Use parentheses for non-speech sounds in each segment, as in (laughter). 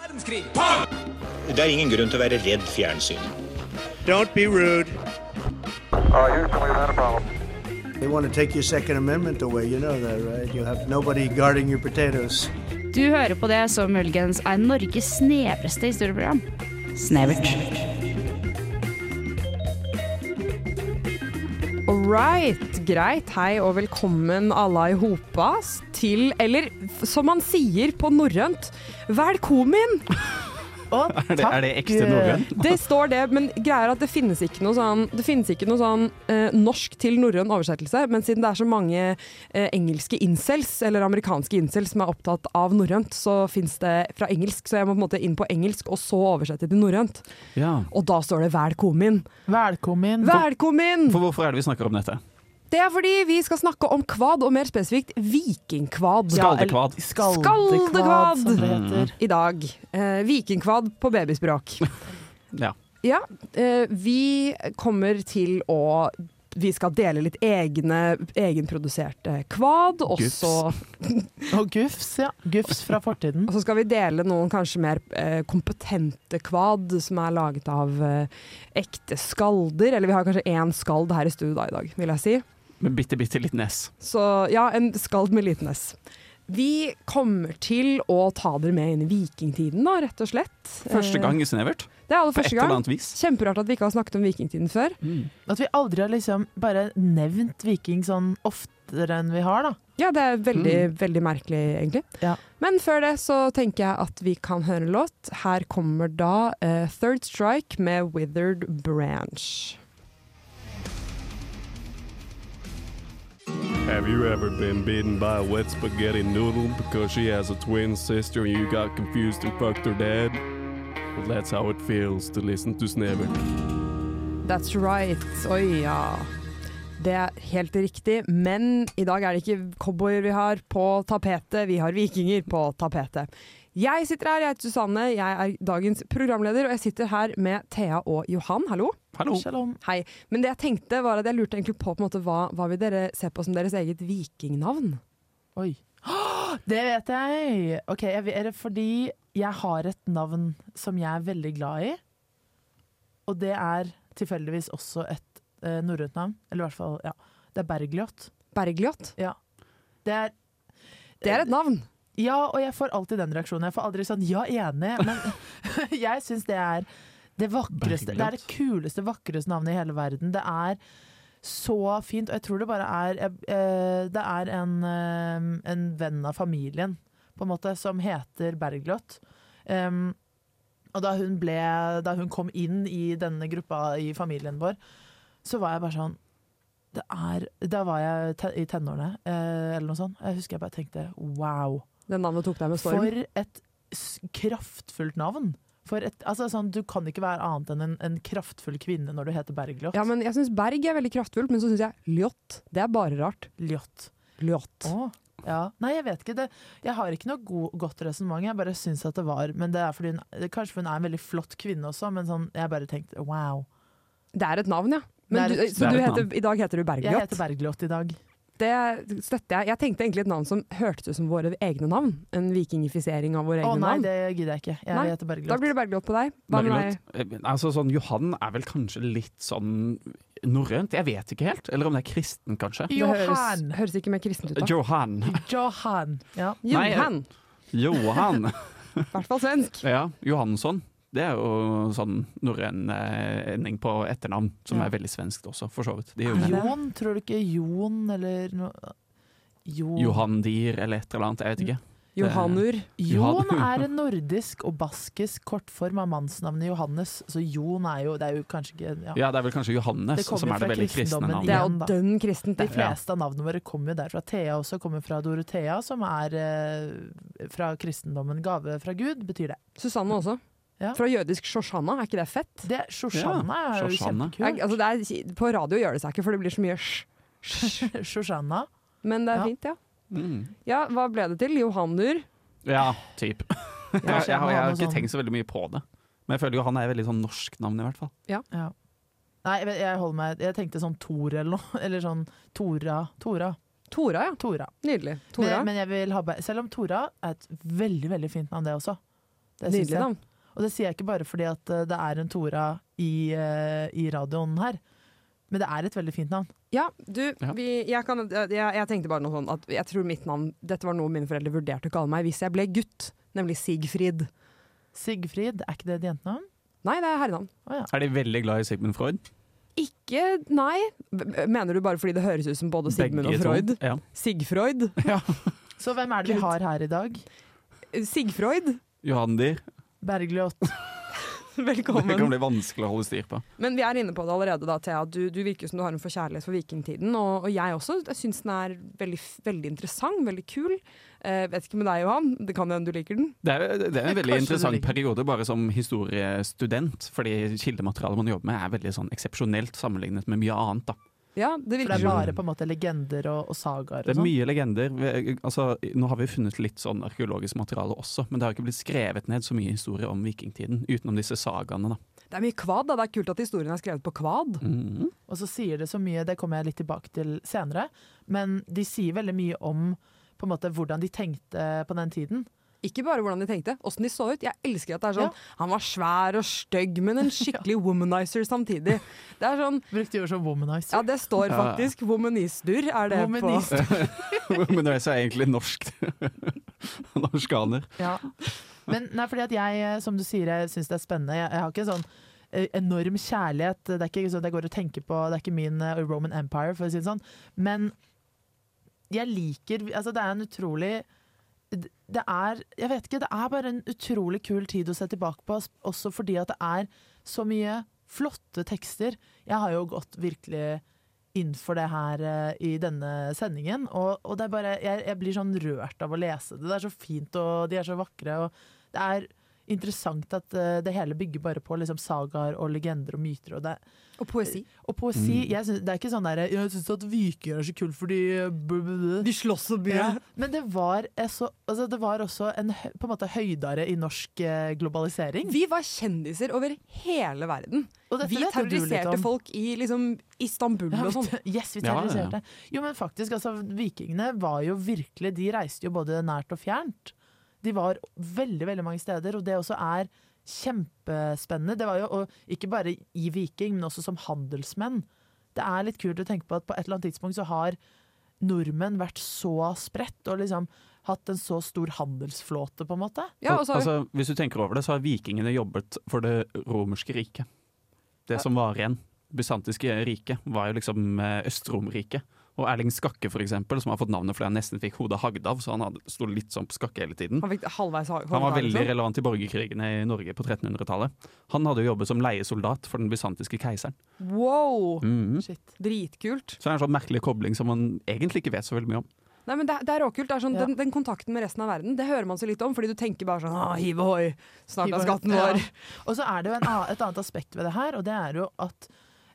verdenskrig. Det er ingen grunn til å være redd fjernsyn. Don't be rude. Uh, Houston, we've had a problem. They want to take your Second Amendment away. You know that, right? You'll have nobody guarding your potatoes. Du hører på det som muligens er Norges snevreste historieprogram. Snevert. Alright, greit. Hei og velkommen alle i hopas til, eller f- som man sier på norrønt, velkommen! Å, Er (laughs) det, takk. er det ekte norrønt? Det står det, men greia er at det finnes ikke noe sånn, det finnes ikke noe sånn eh, norsk til norrøn oversettelse, men siden det er så mange eh, engelske incels, eller amerikanske incels som er opptatt av norrønt, så finnes det fra engelsk, så jeg må på en måte inn på engelsk, og så oversette til norrønt. Ja. Og da står det velkommen! Velkommen. Velkommen! For hvorfor er det vi snakker om dette? Det er fordi vi skal snakke om kvad, og mer spesifikt vikingkvad. Ja, Skaldekvad. eller- Skaldekvad, som det heter. I dag. Eh, vikingkvad på babyspråk. Ja. Ja, (laughs) eh, vi kommer til å vi skal dele litt egne, egenproduserte kvad, og Gufs. så, Og gufs, ja. Gufs fra fortiden. og så skal vi dele noen kanskje mer eh, kompetente kvad som er laget av eh, ekte skalder. Eller vi har kanskje én skald her i studio da i dag, vil jeg si. Med bitte, bitte litt nes. Så ja, en skald med liten S. Vi kommer til å ta dere med inn i vikingtiden, da, rett og slett. Første gang i Snevert. Eh, Det er aller På et første eller gang. annet vis. Kjemperart at vi ikke har snakket om vikingtiden før. At vi aldri har liksom bare nevnt viking sånn oftere enn vi har, da. Ja, det er veldig, Mm. veldig merkelig, egentlig. Ja. Men før det så tenker jeg at vi kan høre en låt. Her kommer da eh, Third Strike med Withered Branch. Have you ever been bitten by a wet spaghetti noodle because she has a twin sister and you got confused and fucked her dad? Well, that's how it feels to listen to Snevert. That's right. Oi, ja. Det er helt riktig, men i dag er det ikke cowboyer vi har på tapetet, vi har vikinger på tapetet. Jeg sitter her, jeg heter Susanne, jeg er dagens programleder, og jeg sitter her med Thea og Johan. Hallo. Hallo. Shalom. Hei. Men det jeg tenkte var at jeg lurte egentlig på, på en måte, hva, hva vil dere se på som deres eget vikingnavn? Oi. (gasps) Åh, Det vet jeg! Ok, jeg vet, er det fordi jeg har et navn som jeg er veldig glad i. Og det er tilfeldigvis også et eh, norrønt navn. Eller i hvert fall, ja. Det er Bergljot. Bergljot. Det er Det er et navn. Ja, og jeg får alltid den reaksjonen. Jeg får aldri sånn 'ja, enig', men (laughs) jeg syns det er det vakreste. Det er det kuleste, vakreste navnet i hele verden. Det er så fint, og jeg tror det bare er jeg- eh, Det er en, eh, en venn av familien, på en måte, som heter Bergljot. Um, og da hun, ble, da hun kom inn i denne gruppa i familien vår, så var jeg bare sånn det er, Da var jeg te i tenårene, eh, eller noe sånt. Jeg husker jeg bare tenkte wow. Det navnet tok deg med storm. For et s- kraftfullt navn. For et, altså sånn, du kan ikke være annet enn en, en kraftfull kvinne når du heter Bergljot. Ja, men jeg syns Berg er veldig kraftfullt, men så syns jeg Ljot. Det er bare rart. Ljot. Ljot. Å, Ja. Nei, jeg vet ikke. Det, jeg har ikke noe god, godt resonnement. Jeg bare syns at det var Men det er fordi hun, det- kanskje for hun er en veldig flott kvinne også, men sånn, jeg bare tenkte wow. Det er et navn, ja. Men Det du, er et- så Det er du et heter, i dag heter du Jeg Bergljot? heter Bergljot i dag. Det støtter jeg. Jeg tenkte egentlig et navn som hørtes ut som våre egne navn. En vikingifisering av våre Å egne nei, navn. det gidder jeg ikke. Jeg Nei, heter Bergljot. Da blir det Bergljot på deg. Hva med deg? Bergljot. Eh, Altså, sånn, Johan er vel kanskje litt sånn norrønt? Jeg vet ikke helt. Eller om det er kristen, kanskje. Det høres, Johan! høres ikke mer kristent ut, da. Johan. (laughs) Johan. Ja. Nei, Johan. Johan. I hvert fall svensk. Ja, Johansson. Det er jo sånn norrøn eh, ending på etternavn, som Ja. Ah, er veldig svenskt også, for så vidt. Det er jo det? Jon, tror du ikke Jon eller noe Jon. Johan Dier eller et eller annet, jeg vet ikke. Johanur. Jon er en nordisk og baskisk kortform av mannsnavnet Johannes, så Jon er jo Det er jo kanskje ikke ja. Ja, det er vel kanskje Johannes Det kommer som er det fra veldig kristne kristendommen Det navnet. er Igjen, jo da. dønn kristent, De det. fleste av navnene våre kommer jo derfra. Thea også kommer fra Dorothea, som er eh, fra kristendommen. Gave fra Gud betyr det. Susanne også. Ja. Fra jødisk Shoshana, er ikke det fett? Det Shoshanna er jo Shoshana. Jeg, kjempekult. (laughs) altså det er, på radio gjør det seg ikke, for det blir så mye sj. sj. Shoshanna. Men det er Ja. fint, ja. Mm. Ja, Hva ble det til? Johanur? Ja, typ. (laughs) Jeg, jeg, jeg må har- jeg ha har noe ikke sånn. tenkt så veldig mye på det. Men jeg føler jo han er et veldig sånn norsk navn, i hvert fall. Ja. Nei, jeg, vet- jeg holder meg Jeg tenkte sånn Tor eller noe. (laughs) Eller sånn Tora. Tora. Tora, ja. Tora. Nydelig. Tora. Men, men jeg vil ha, Ber- selv om Tora er et veldig veldig fint navn, det også. Det syns Nydelig jeg. navn. Og det sier jeg ikke bare fordi at eh, det er en Tora i, eh, i radioen her, men det er et veldig fint navn. Ja, du, Ja. vi, jeg, kan, jeg, jeg tenkte bare noe sånn at jeg tror mitt navn Dette var noe mine foreldre vurderte å kalle meg hvis jeg ble gutt, nemlig Sigfrid. Sigfrid, er ikke det et jentenavn? Nei, det er herrenavn. Å ja. Er de veldig glad i Sigmund Freud? Ikke Nei. B- Mener du bare fordi det høres ut som både Sigmund og Begge to? Freud? Ja. Sigfreud? Så hvem er det vi har her i dag? (laughs) Sigfreud? Johan Dier. Bergljot. Det kan Velkommen. bli vanskelig å holde styr på. Men vi er inne på det allerede, da, Thea. Du, du virker som du har en forkjærlighet for vikingtiden. Og, og jeg også. Jeg syns den er veldig, f- veldig interessant, veldig kul. Eh, vet ikke med deg, Johan. Det kan hende du liker den. Det er, det er en Kanskje veldig interessant det ligger- periode bare som historiestudent, fordi kildematerialet man jobber med er veldig sånn eksepsjonelt sammenlignet med mye annet. da. Ja, det For det virker er som bare på en måte legender og, og sagaer Det er og sånn. mye legender. Vi- Altså, nå har vi funnet litt sånn arkeologisk materiale også, men det har ikke blitt skrevet ned så mye historie om vikingtiden, utenom disse sagaene. da. Det er mye kvad, da. Det er kult at historien er skrevet på kvad. Mhm. Og så sier det så mye, det kommer jeg litt tilbake til senere, men de sier veldig mye om på en måte hvordan de tenkte på den tiden. Ikke bare hvordan de tenkte, åssen de så ut. Jeg elsker at det er sånn Han var svær og stygg, (laughs) men en skikkelig womanizer samtidig. Det er sånn Brukte jo som womanizer. Ja, det står Ja. faktisk. Womanister er det Womanist. (laughs) Men det er egentlig norsk. (laughs) Norskaner. Ja. Men nei, fordi at jeg, eh, som du sier, jeg syns det er spennende. Jeg, jeg har ikke sånn eh, enorm kjærlighet. Det er ikke sånn at jeg går og tenker på Det er ikke min eh, Roman Empire, for å si det sånn. Men jeg liker Altså, det er en utrolig det det er Jeg vet ikke, det er bare en utrolig kul tid å se tilbake på, s- også fordi at det er så mye flotte tekster. Jeg har jo gått virkelig inn for det her eh, i denne sendingen, og, og det er bare jeg, jeg blir sånn rørt av å lese det. Det er så fint, og de er så vakre, og det er interessant at eh, det hele bygger bare på liksom sagaer og legender og myter, og det på (laughs) Og poesi. og poesi jeg synes, Det er ikke sånn der Jeg syns at vikinger er så kule fordi eh, De slåss så mye. Men det var, eh, så, altså, det var også en hø- på en måte høydare i norsk eh, globalisering. Vi var kjendiser over hele verden. Og dette Vi vet jo du litt terroriserte om. folk i liksom Istanbul og sånn. (laughs) Yes, Ja, ja, vi ja. terroriserte. Jo, men faktisk, altså, vikingene var jo virkelig De reiste jo både nært og fjernt. De var veldig, veldig mange steder, og det også er kjempespennende. Det var jo, og ikke bare i viking, men også som handelsmenn. Det er litt kult å tenke på at på et eller annet tidspunkt så har nordmenn vært så spredt, og liksom hatt en så stor handelsflåte, på en måte. Ja, og så har vi- altså, hvis du tenker over det, så har vikingene jobbet for det romerske riket. Det som var igjen. Bysantiske riket var jo liksom eh, Øst-Romerriket. Og Erling Skakke, for eksempel, som har fått navnet fordi han nesten fikk hodet hagd av, så han hadde- sto litt sånn på skakke hele tiden. Han fikk halvveis liksom. hår. Han var veldig relevant i borgerkrigene i Norge på 1300-tallet. Han hadde jo jobbet som leiesoldat for den bysantiske keiseren. Wow! Mhm. Shit. Dritkult. Så det er en sånn merkelig kobling som man egentlig ikke vet så veldig mye om. Nei, men det, det er råkult. Det er sånn, Ja. den, den kontakten med resten av verden Det hører man så litt om, fordi du tenker bare sånn ah, Hiv ohoi, snart er Hiv skatten ohoi. vår. Og så er det jo en, annen- et annet aspekt ved det her, og det er jo at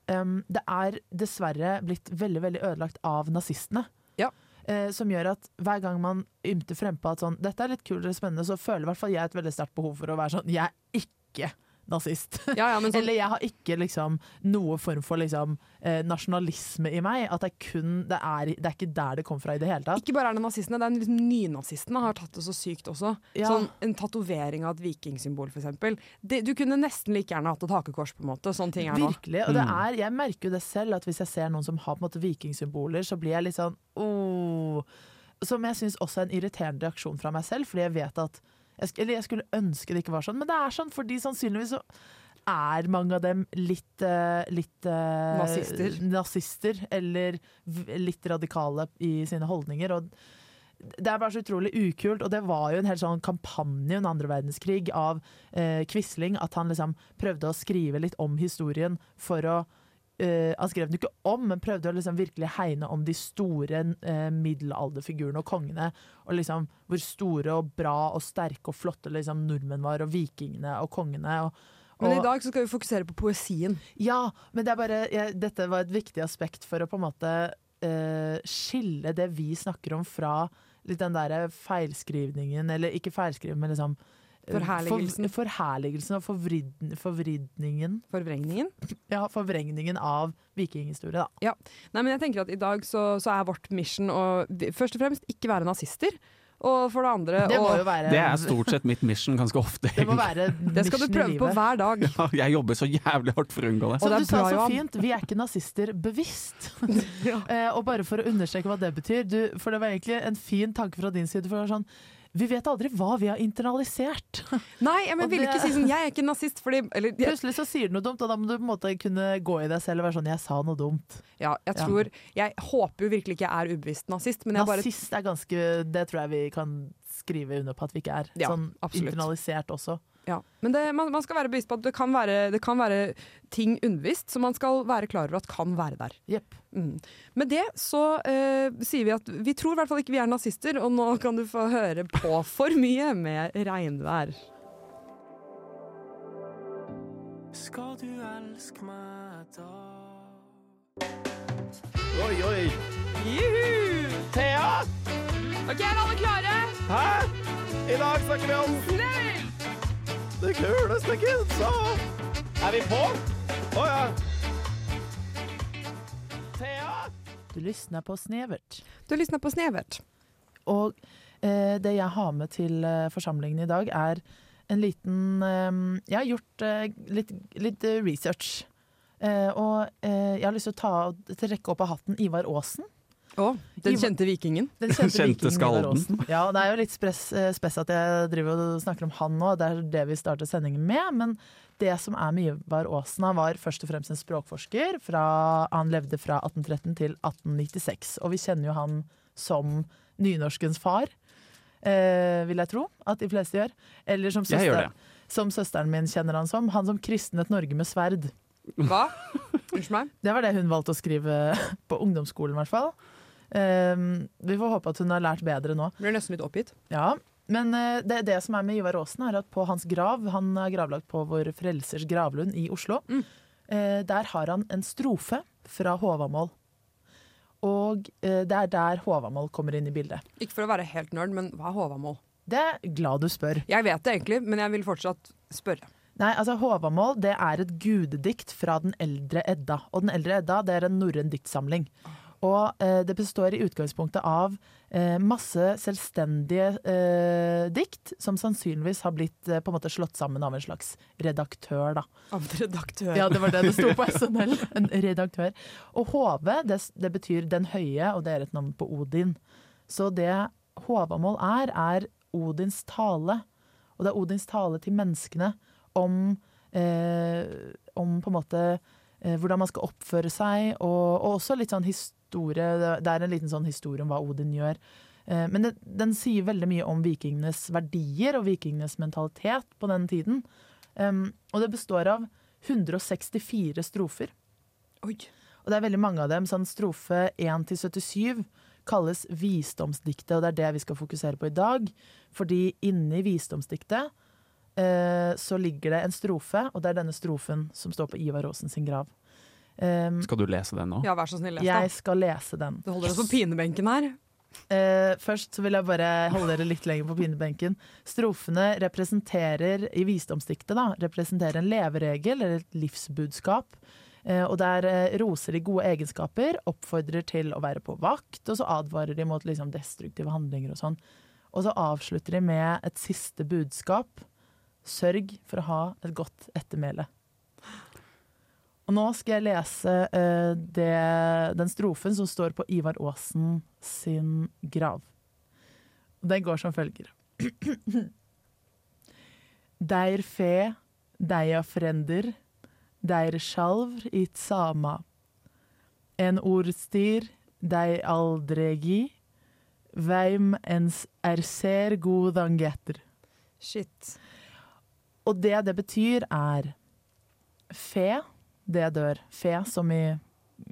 em, det er dessverre blitt veldig, veldig ødelagt av nazistene. Ja. Eh, som gjør at hver gang man ymter frempå at sånn, dette er litt kult eller spennende, så føler i hvert fall jeg et veldig sterkt behov for å være sånn, jeg er ikke nazist. Ja, ja, men sånn, Eller jeg har ikke liksom, noe form for liksom, eh, nasjonalisme i meg. At det er kun det er, det er ikke der det kom fra i det hele tatt. Ikke bare er det nazistene, det er liksom nynazistene har tatt det så sykt også. Ja. Sånn En tatovering av et vikingsymbol, f.eks. Du kunne nesten like gjerne hatt et hakekors, på en måte. Sånne ting er nå. Virkelig. Og det er, jeg merker jo det selv, at hvis jeg ser noen som har på en måte vikingsymboler, så blir jeg litt sånn oh. Som jeg syns også er en irriterende reaksjon fra meg selv, fordi jeg vet at jeg, sk- Eller jeg skulle ønske det ikke var sånn, men det er sånn fordi sannsynligvis så er mange av dem litt, eh, litt eh, Nazister. nazister, eller v- litt radikale i sine holdninger. Og det er bare så utrolig ukult, og det var jo en hel sånn kampanje under andre verdenskrig av eh, Quisling, at han liksom prøvde å skrive litt om historien for å eh, Han skrev den jo ikke om, men prøvde å liksom virkelig hegne om de store eh, middelalderfigurene og kongene. Og liksom hvor store og bra og sterke og flotte liksom nordmenn var, og vikingene og kongene. Og, og, Men i dag så skal vi fokusere på poesien. ja, men det er bare, jeg, dette var et viktig aspekt for å på en måte eh, skille det vi snakker om fra litt den der feilskrivningen, eller ikke feilskrivning, men liksom eh, Forherligelsen. For, forherligelsen og forvrid, forvridningen Forvrengningen. Ja, forvrengningen av vikinghistorie, da. Nei, men jeg tenker at I dag så, så er vårt mission å vi- først og fremst ikke være nazister. Og for det andre Det må og, jo være Det er stort sett mitt mission ganske ofte. det (laughs) må egentlig. være det skal du mission i prøve på livet. hver (laughs) dag. Ja, jeg jobber så jævlig hardt for å unngå det. Og Som det er du sa bra, så Johan. fint, vi er ikke nazister bevisst. (laughs) Eh, og bare for å understreke hva det betyr, du, for det var egentlig en fin tanke fra din side. For det var sånn, vi vet aldri hva vi har internalisert. Nei, jeg men, Og ville det- ikke si sånn 'jeg er ikke nazist', fordi eller, jeg, Plutselig så sier du noe dumt, og da må du på en måte kunne gå i deg selv og være sånn 'jeg sa noe dumt'. ja, jeg, Ja. tror, jeg håper jo virkelig ikke jeg er ubevisst nazist, men jeg bare Nazist er ganske Det tror jeg vi kan skrive under på at vi ikke er. Ja, sånn absolutt. internalisert også. Ja, men det, man, man skal være bevisst på at det kan være, det kan være ting unnvisst som man skal være klar over at kan være der. Jepp. Mm. Med det så eh, sier vi at vi tror i hvert fall ikke vi er nazister, og nå kan du få høre på for mye med regnvær. Skal du elske meg da? Juhu! Thea! Ok, er alle klare? Hæ? I dag snakker vi om Snill! det kuleste kidsa. Er vi på? Å ja. Thea! Du lysner på snevert. Du lysner på Snevert. Og eh, det jeg har med til eh, forsamlingen i dag, er en liten eh, Jeg har gjort eh, litt, litt eh, research. Eh, og eh, jeg har lyst til å ta, til rekke opp av hatten Ivar Aasen. Å, den Ivar- kjente vikingen. Den kjente, Kjente vikingen Ivar skalden. Aasen. Ja, og det er jo litt spess, eh, spess at jeg driver og snakker om han nå, det er det vi starter sendingen med. Men det som er med Ivar Aasen, han var først og fremst en språkforsker. Fra, han levde fra 1813 til 1896, og vi kjenner jo han som nynorskens far. Eh, vil jeg tro at de fleste gjør. Eller som, Jeg gjør søster, som søsteren min kjenner han som. Han som kristnet Norge med sverd. Hva? (laughs) Unnskyld meg. Det var det hun valgte å skrive (laughs) på ungdomsskolen, i hvert fall. Eh, vi får håpe at hun har lært bedre nå. Blir nesten litt oppgitt. Ja, men eh, det, det som er med Ivar Aasen, er at på hans grav Han er gravlagt på Vår Frelsers gravlund i Oslo. eh, Der har han en strofe fra Håvamål. Og eh, det er der Håvamål kommer inn i bildet. Ikke for å være helt nerd, men hva er Håvamål? Det er glad du spør. Jeg vet det egentlig, men jeg vil fortsatt spørre. Nei, altså Håvamål det er et gudedikt fra Den eldre Edda. Og Den eldre Edda det er en norrøn diktsamling. Og eh, det består i utgangspunktet av eh, masse selvstendige eh, dikt, som sannsynligvis har blitt eh, på en måte slått sammen av en slags redaktør. da. Av redaktør. Ja, det var det det sto (laughs) på SNL. En redaktør. Og HV, det, det betyr den høye, og det er et navn på Odin. Så det Håvamål er, er Odins tale. Og det er Odins tale til menneskene om, eh, om på en måte eh, hvordan man skal oppføre seg, og, og også litt sånn historie. Det er en liten sånn historie om hva Odin gjør. Eh, Men det, den sier veldig mye om vikingenes verdier og vikingenes mentalitet på den tiden. Um, og det består av 164 strofer. Oi. Og det er veldig mange av dem. Sånn strofe 1 til 77 kalles visdomsdiktet, og det er det vi skal fokusere på i dag. Fordi inni visdomsdiktet eh, så ligger det en strofe, og det er denne strofen som står på Ivar Aasen sin grav. Um, Skal du lese den nå? Ja, vær så snill, les jeg den. skal lese den. Du holder oss på pinebenken her. Eh, først så vil jeg bare holde dere litt lenger på pinebenken. Strofene representerer i visdomsdiktet da, representerer en leveregel eller et livsbudskap. Eh, og der eh, roser de gode egenskaper, oppfordrer til å være på vakt, og så advarer de mot liksom, destruktive handlinger og sånn. Og så avslutter de med et siste budskap. Sørg for å ha et godt ettermæle. Og nå skal jeg lese eh, det, den strofen som står på Ivar Aasen sin grav. Og Den går som følger. (clears throat) Deir fe, deia frender, deir sjalvr it sama. En ordstyr, dei aldregi, veim ens erser godangetter. Shit. Og det det betyr er fe, det dør. Fe som i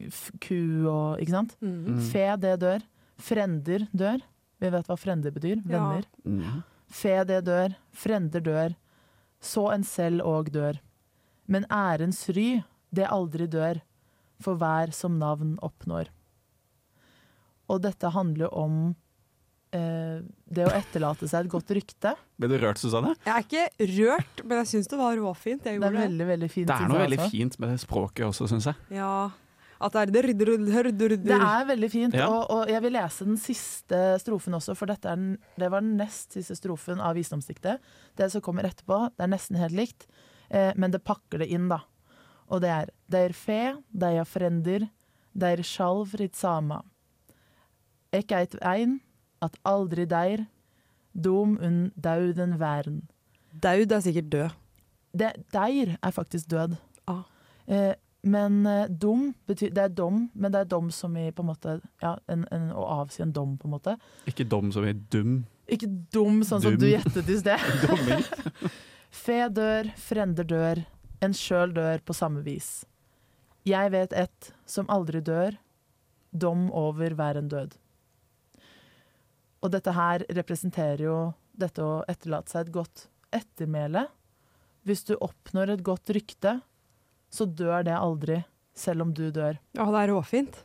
f- ku og Ikke sant? Mm. Fe, det dør. Frender dør. Vi vet hva frender betyr. Ja. Venner. Mm. Fe, det dør. Frender dør. Så en selv òg dør. Men ærens ry, det aldri dør, for hver som navn oppnår. Og dette handler jo om eh, det å etterlate seg et godt rykte. Ble du rørt, Susanne? Jeg er ikke rørt, men jeg syns det var råfint. Jeg Det er gjorde det. veldig, veldig fint. Det er synes noe jeg veldig også. fint med det språket også, syns jeg. Ja. At det er det rydder, rydder, rydder, Det rydder. er veldig fint, Ja. og, og jeg vil lese den siste strofen også, for dette er den, det var den nest siste strofen av visdomsdiktet. Det som kommer etterpå, det er nesten helt likt, eh, men det pakker det inn, da. Og det er Deir fe, deia frender, deir sjal fritt sama. Ek eit ein, at aldri deir, dom un dauden væren. Daud er sikkert død. det, Deir er faktisk død. Ah. Eh, men eh, dom betyr Det er dom, men det er dom som i på en måte Ja, en, en, å avsi en dom, på en måte. Ikke dum som i dum. Ikke dum, sånn som Dum. du gjettet i sted. (laughs) Fe dør, frender dør, en sjøl dør på samme vis. Jeg vet ett som aldri dør, dom over hver en død. Og dette her representerer jo dette å etterlate seg et godt ettermæle. Hvis du oppnår et godt rykte, så dør det aldri, selv om du dør. Ja, det er råfint.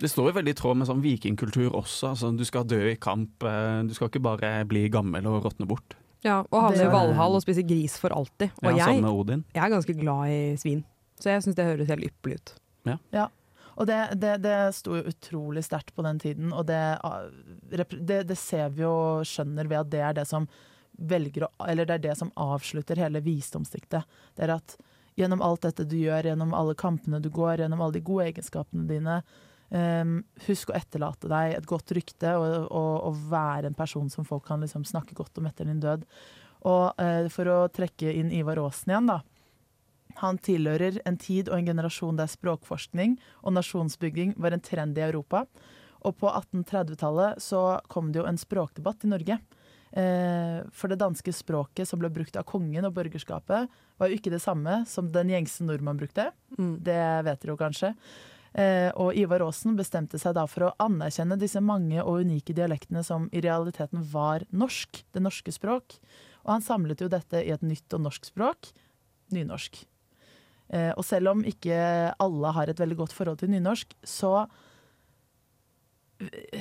Det står jo veldig i tråd med sånn vikingkultur også. Altså, du skal dø i kamp, eh, du skal ikke bare bli gammel og råtne bort. Ja, og havne Det- i Valhall og spise gris for alltid. Ja, Og Sammen jeg, med Odin. jeg er ganske glad i svin, så jeg syns det høres helt ypperlig ut. Og det, det, det sto jo utrolig sterkt på den tiden, og det, ah, repre- det, det ser vi jo skjønner ved at det er det som velger å, eller det er det som avslutter hele visdomsdiktet. Det er at gjennom alt dette du gjør, gjennom alle kampene du går, gjennom alle de gode egenskapene dine, em, husk å etterlate deg et godt rykte og, og, og være en person som folk kan liksom snakke godt om etter din død. Og eh, for å trekke inn Ivar Aasen igjen, da. Han tilhører en tid og en generasjon der språkforskning og nasjonsbygging var en trend i Europa. Og på 1830-tallet så kom det jo en språkdebatt i Norge. Eh, For det danske språket som ble brukt av kongen og borgerskapet, var jo ikke det samme som den gjengse nordmann brukte. Det vet dere jo kanskje. Eh, Og Ivar Aasen bestemte seg da for å anerkjenne disse mange og unike dialektene som i realiteten var norsk, det norske språk. Og han samlet jo dette i et nytt og norsk språk, nynorsk. Eh, og selv om ikke alle har et veldig godt forhold til nynorsk, så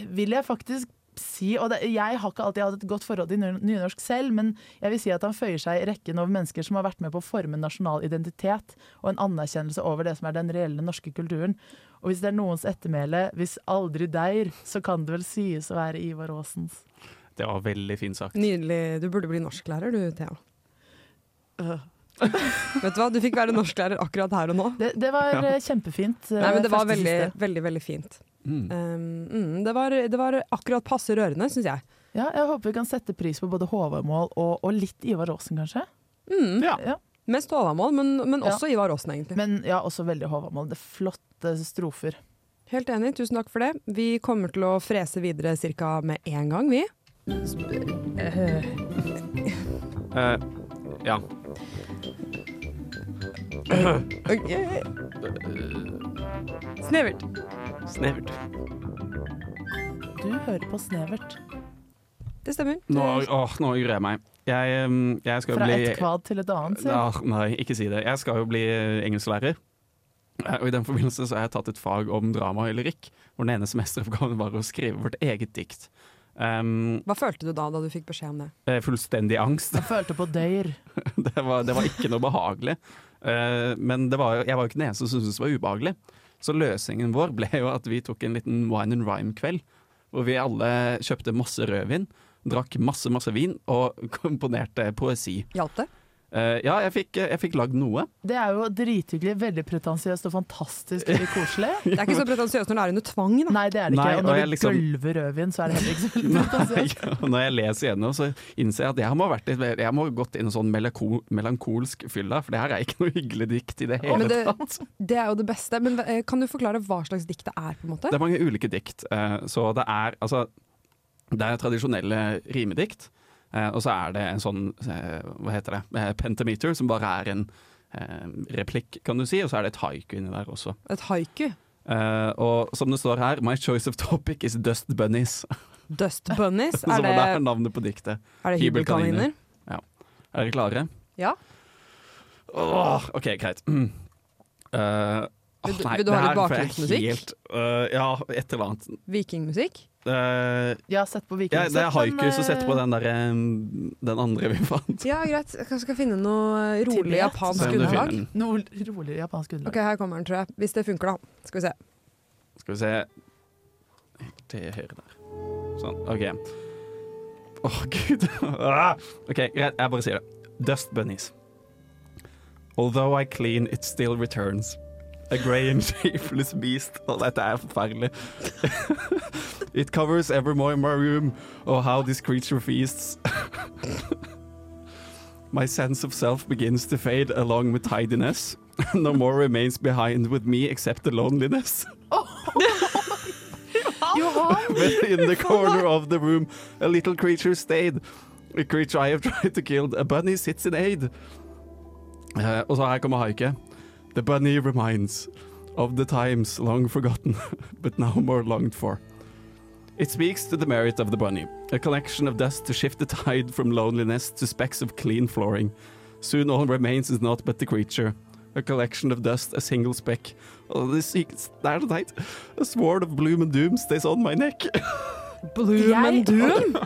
vil jeg faktisk si Og det, jeg har ikke alltid hatt et godt forhold til ny- nynorsk selv, men jeg vil si at han føyer seg i rekken over mennesker som har vært med på å forme en nasjonal identitet og en anerkjennelse over det som er den reelle norske kulturen. Og hvis det er noens ettermæle, hvis aldri deir, så kan det vel sies å være Ivar Aasens. Det var veldig fint sagt. Nydelig. Du burde bli norsklærer du, Thea. Vet du hva, du fikk være norsklærer akkurat her og nå. Det, det var Ja. eh, kjempefint. eh, Nei, men det var første veldig, siste. veldig, veldig fint. Mm. Um, mm, det, var, det var akkurat passe rørende, syns jeg. Ja, jeg håper vi kan sette pris på både Håvamål og, og litt Ivar Aasen, kanskje. Mm. Ja. Ja. Mest Håvamål, men, men Ja. også Ivar Aasen, egentlig. Men ja, også veldig Håvamål. Det er flotte strofer. Helt enig, tusen takk for det. Vi kommer til å frese videre ca. med én gang, vi. Eh, ja. Snevert. Snevert. Du hører på Snevert. Det stemmer. Nå, åh, nå gruer jeg meg. Jeg, eh, jeg skal jo Fra bli et kvad til et annet. sier jeg. Ah, nei, ikke si det. Jeg skal jo bli eh, engelsklærer. Eh, Og I den forbindelse så har jeg tatt et fag om drama og lyrikk, hvor den ene semesteroppgaven var å skrive vårt eget dikt. Um, Hva følte du da da du fikk beskjed om det? eh, fullstendig angst. (laughs) Jeg følte på døyr. Det var, det var ikke noe behagelig. Eh, men det var, jo- jeg var jo ikke den eneste som syntes det var ubehagelig. Så løsningen vår ble jo at vi tok en liten wine and rhyme-kveld, hvor vi alle kjøpte masse rødvin, drakk masse, masse vin og (laughs) komponerte poesi. Hjalp det? Eh, ja, jeg fikk, jeg fikk lagd noe. Det er jo drithyggelig, veldig pretensiøst og fantastisk veldig (laughs) koselig. Det er ikke så pretensiøst når det er under tvang, da. Nei, det er det ikke. Nei, og og når jeg du liksom- gølver rødvin, så er det liksom- heller ikke så veldig Nei, (laughs) pretensiøst. og når jeg leser gjennom, så innser jeg at jeg må ha, vært litt, jeg må ha gått inn i en sånn melako- melankolsk fylla, for det her er ikke noe hyggelig dikt i det Men hele det- tatt. Det er jo det beste. Men eh, kan du forklare hva slags dikt det er, på en måte? Det er mange ulike dikt. eh, Så det er altså Det er tradisjonelle rimedikt, eh, og så er det en sånn eh, Hva heter det? eh, Pentameter, som bare er en eh, replikk, kan du si, og så er det et haiku inni der også. Et haiku. Eh, Og som det står her, My choice of topic is dust bunnies. (laughs) Dust bunnies. Som Er det, er navnet på diktet. er det hybelkaniner? Er dere klare? Ja. Åh, ok, greit. Mm. Eh, Vil du- åh, nei, vil du ha litt det her får jeg bakgrunnsmusikk? helt, eh, ja, et eller annet. Vikingmusikk? Eh, Jeg har sett på ja, det er Vikingsett, haiku som setter på eh, den, der, eh, den andre vi fant. Ja, greit. Jeg kanskje skal finne noe rolig Tibet. japansk Se om du finner underlag. den. noe roligere japansk underlag. Ok, her kommer den, tror jeg. Hvis det funker, da. Skal vi se. Skal vi se Til høyre der. Sånn. OK. Å, (laughs) gud. Ah! OK, greit. Jeg bare sier det. Dust bunnies. Although I clean, it still returns. A grey and (laughs) shapeless beast. Å, dette er forferdelig. (laughs) it covers ever more in my room. Oh, how this creature feasts. (laughs) My sense of self begins to fade along with tidiness. (laughs) No more remains behind with me except the loneliness. (laughs) (laughs) Johan! But in the corner of the room, a little creature stayed. A creature I have (laughs) tried to kill. A bunny sits in aid. Eh, og så her kommer haiket. The bunny reminds of the times long forgotten, (laughs) but now more longed for. It speaks to the merit of the bunny, a collection of dust to shift the tide from loneliness to specks of clean flooring. Soon all remains is not but the creature, a collection of dust, a single speck. Oh, this secret, det er så teit. A sword of bloom and doom stays on my neck. Bloom and doom?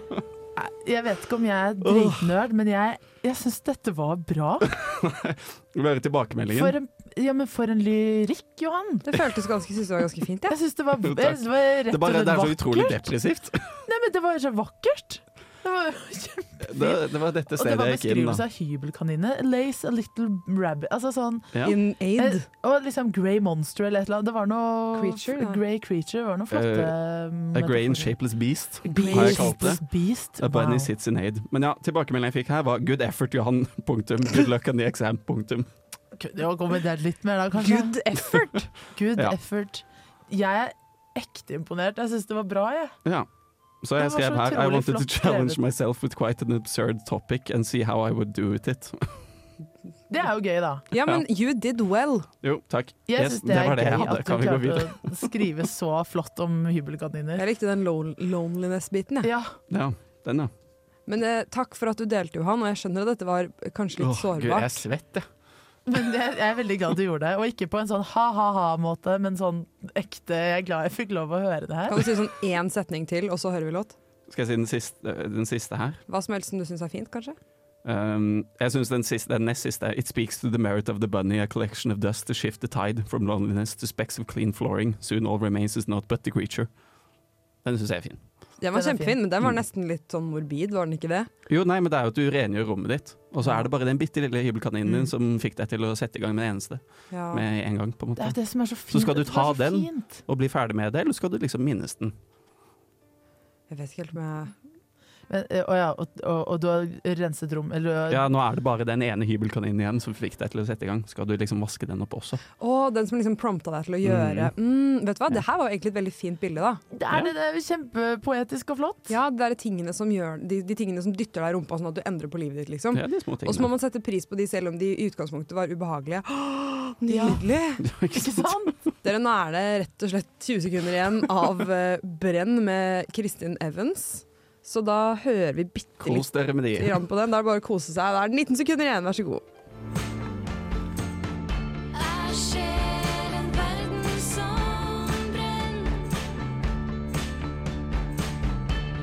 Jeg vet ikke om jeg er dritnerd, men jeg, jeg syns dette var bra. Vil du høre tilbakemeldingen? For en, ja, men for en lyrikk, Johan! Det føltes ganske, synes det var ganske fint, jeg. Jeg syns det, (laughs) var- jeg Takk. synes det var rett det, og er bare, slett det er så vakkert. utrolig (laughs) depressivt. Nei, men det var så vakkert! Det var, (laughs) Det, det var dette og det stedet var jeg gikk inn, beskrivelse da. av hybelkanine. Lace a little rabbit. Altså sånn Ja. In aid. eh, Og liksom Grey Monster eller et eller annet. Det var noe Creature, ja. Grey Creature det var noe flotte Eh, eh, A grey and metaforer. shapeless beast. Grey har jeg kalt det. shapeless Beast. A bunny Wow. sits in aid. Men ja, tilbakemeldingen jeg fikk her var good effort, Johan. (laughs) Punktum. Good luck on the exam. Punktum. Kunne jo gå med det litt mer da, kanskje. Good effort! (laughs) Good Ja. effort. Jeg er ekte imponert. Jeg syns det var bra, jeg. Ja. Så Det jeg var skrev så her I utrolig wanted to flott challenge skrevet." myself with quite an absurd topic and see how I would do with it. (laughs) Det er jo gøy, da. Ja, men you did well. Jo, takk. Jeg Yes, syns det det er var det jeg gøy hadde. at Kan du vi gå (laughs) klarte å skrive så flott om hybelkaniner. Jeg likte den lon- loneliness-biten, jeg. Ja. Ja, den, ja. Men eh, takk for at du delte, Johan, og jeg skjønner at dette var eh, kanskje litt Åh, Gud, jeg er sårbart. svett, jeg. Men det, jeg er veldig glad du gjorde det. Og ikke på en sånn ha-ha-ha-måte, men sånn ekte 'jeg er glad jeg fikk lov å høre det her'. Kan du si sånn én setning til, og så hører vi låt? Skal jeg si den siste, eh, den siste her? Hva som helst som du syns er fint, kanskje? Um, jeg syns den, siste- den nest siste er It speaks to the merit of the bunny, a collection of dust to shift the tide from loneliness to specks of clean flooring. Soon all remains is not but the creature. Den syns jeg er fin. Den var Den er fin. kjempefin, men den var Mm. nesten litt sånn morbid, var den ikke det? Jo, nei, men det er jo at du rengjør rommet ditt, og så er det bare den bitte lille hybelkaninen din Mm. som fikk deg til å sette i gang med det eneste Ja. med en gang, på en Det er jo måte. det som er så Så fint. skal du Det som er ta så den? Fint. Og bli ferdig med det, eller skal du liksom minnes den? Jeg vet ikke helt om jeg Men, eh, og, ja, og, og, og du har renset rom eller, du har- Ja, nå er det bare den ene hybelkaninen igjen som fikk deg til å sette i gang. Skal du liksom vaske den opp også? Å, den som liksom prompta deg til å gjøre mm. Vet du hva, det her var jo egentlig et veldig fint bilde, da. Det er det, det er jo kjempepoetisk og flott. Ja, det er de tingene som, gjør, de, de tingene som dytter deg i rumpa sånn at du endrer på livet ditt, liksom. Ja, de små Og så må tingene. (laughs) man sette pris på de selv om de i utgangspunktet var ubehagelige. Åh, Nydelig! Ikke sant? (laughs) Dere, nå er det rett og slett 20 sekunder igjen av eh, Brenn med Kristin Evans. Så da hører vi bitte Kos litt dere med de. grann på den. Da er det bare å kose seg. Da er det 19 sekunder igjen, vær så god. Her skjer en verden som brenner.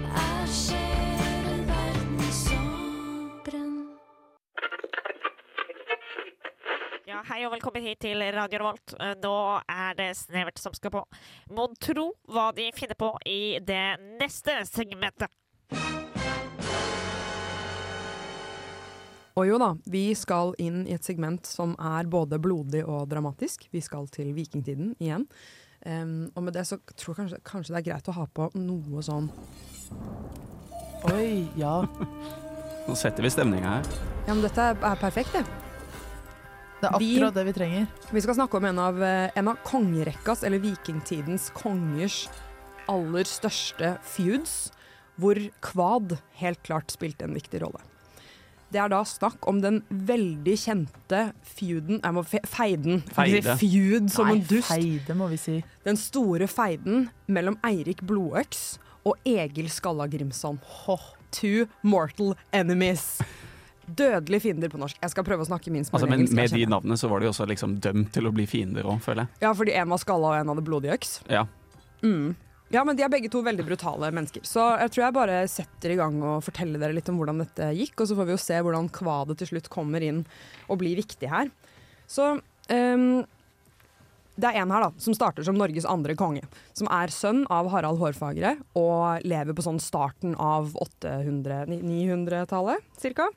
Her skjer en verden som brenner. Ja, hei og velkommen hit til Radio Revolt. Eh, Nå er det snevert som skal på. Må tro hva de finner på i det neste segmentet. Og jo da, vi skal inn i et segment som er både blodig og dramatisk. Vi skal til vikingtiden igjen. Em, og med det så tror jeg kanskje, kanskje det er greit å ha på noe sånn Oi, ja. Nå setter vi stemninga her. Ja, men dette er, er perfekt, det. Det er Vi- akkurat det vi trenger. Vi skal snakke om en av, eh, en av kongerekkas, eller vikingtidens kongers, aller største feuds, hvor kvad helt klart spilte en viktig rolle. Det er da snakk om den veldig kjente feuden Jeg må fe feiden. Jeg kan ikke si Feud som Nei, en dust. feide, må vi si. Den store feiden mellom Eirik Blodøks og Egil Skalla Grimson. Two mortal enemies. Dødelige fiender på norsk. Jeg skal prøve å snakke minst mulig Altså, men engelsk. jeg med de kjenner. navnene så var de også liksom dømt til å bli fiender òg, føler jeg. Ja, fordi en var skalla og en hadde blodig øks. Ja. Mm. Ja, men de er begge to veldig brutale mennesker. Så jeg tror jeg bare setter i gang og forteller dere litt om hvordan dette gikk, og så får vi jo se hvordan kvadet til slutt kommer inn og blir viktig her. Så ehm, Det er en her da, som starter som Norges andre konge. Som er sønn av Harald Hårfagre og lever på sånn starten av 800 ni- 900-tallet cirka.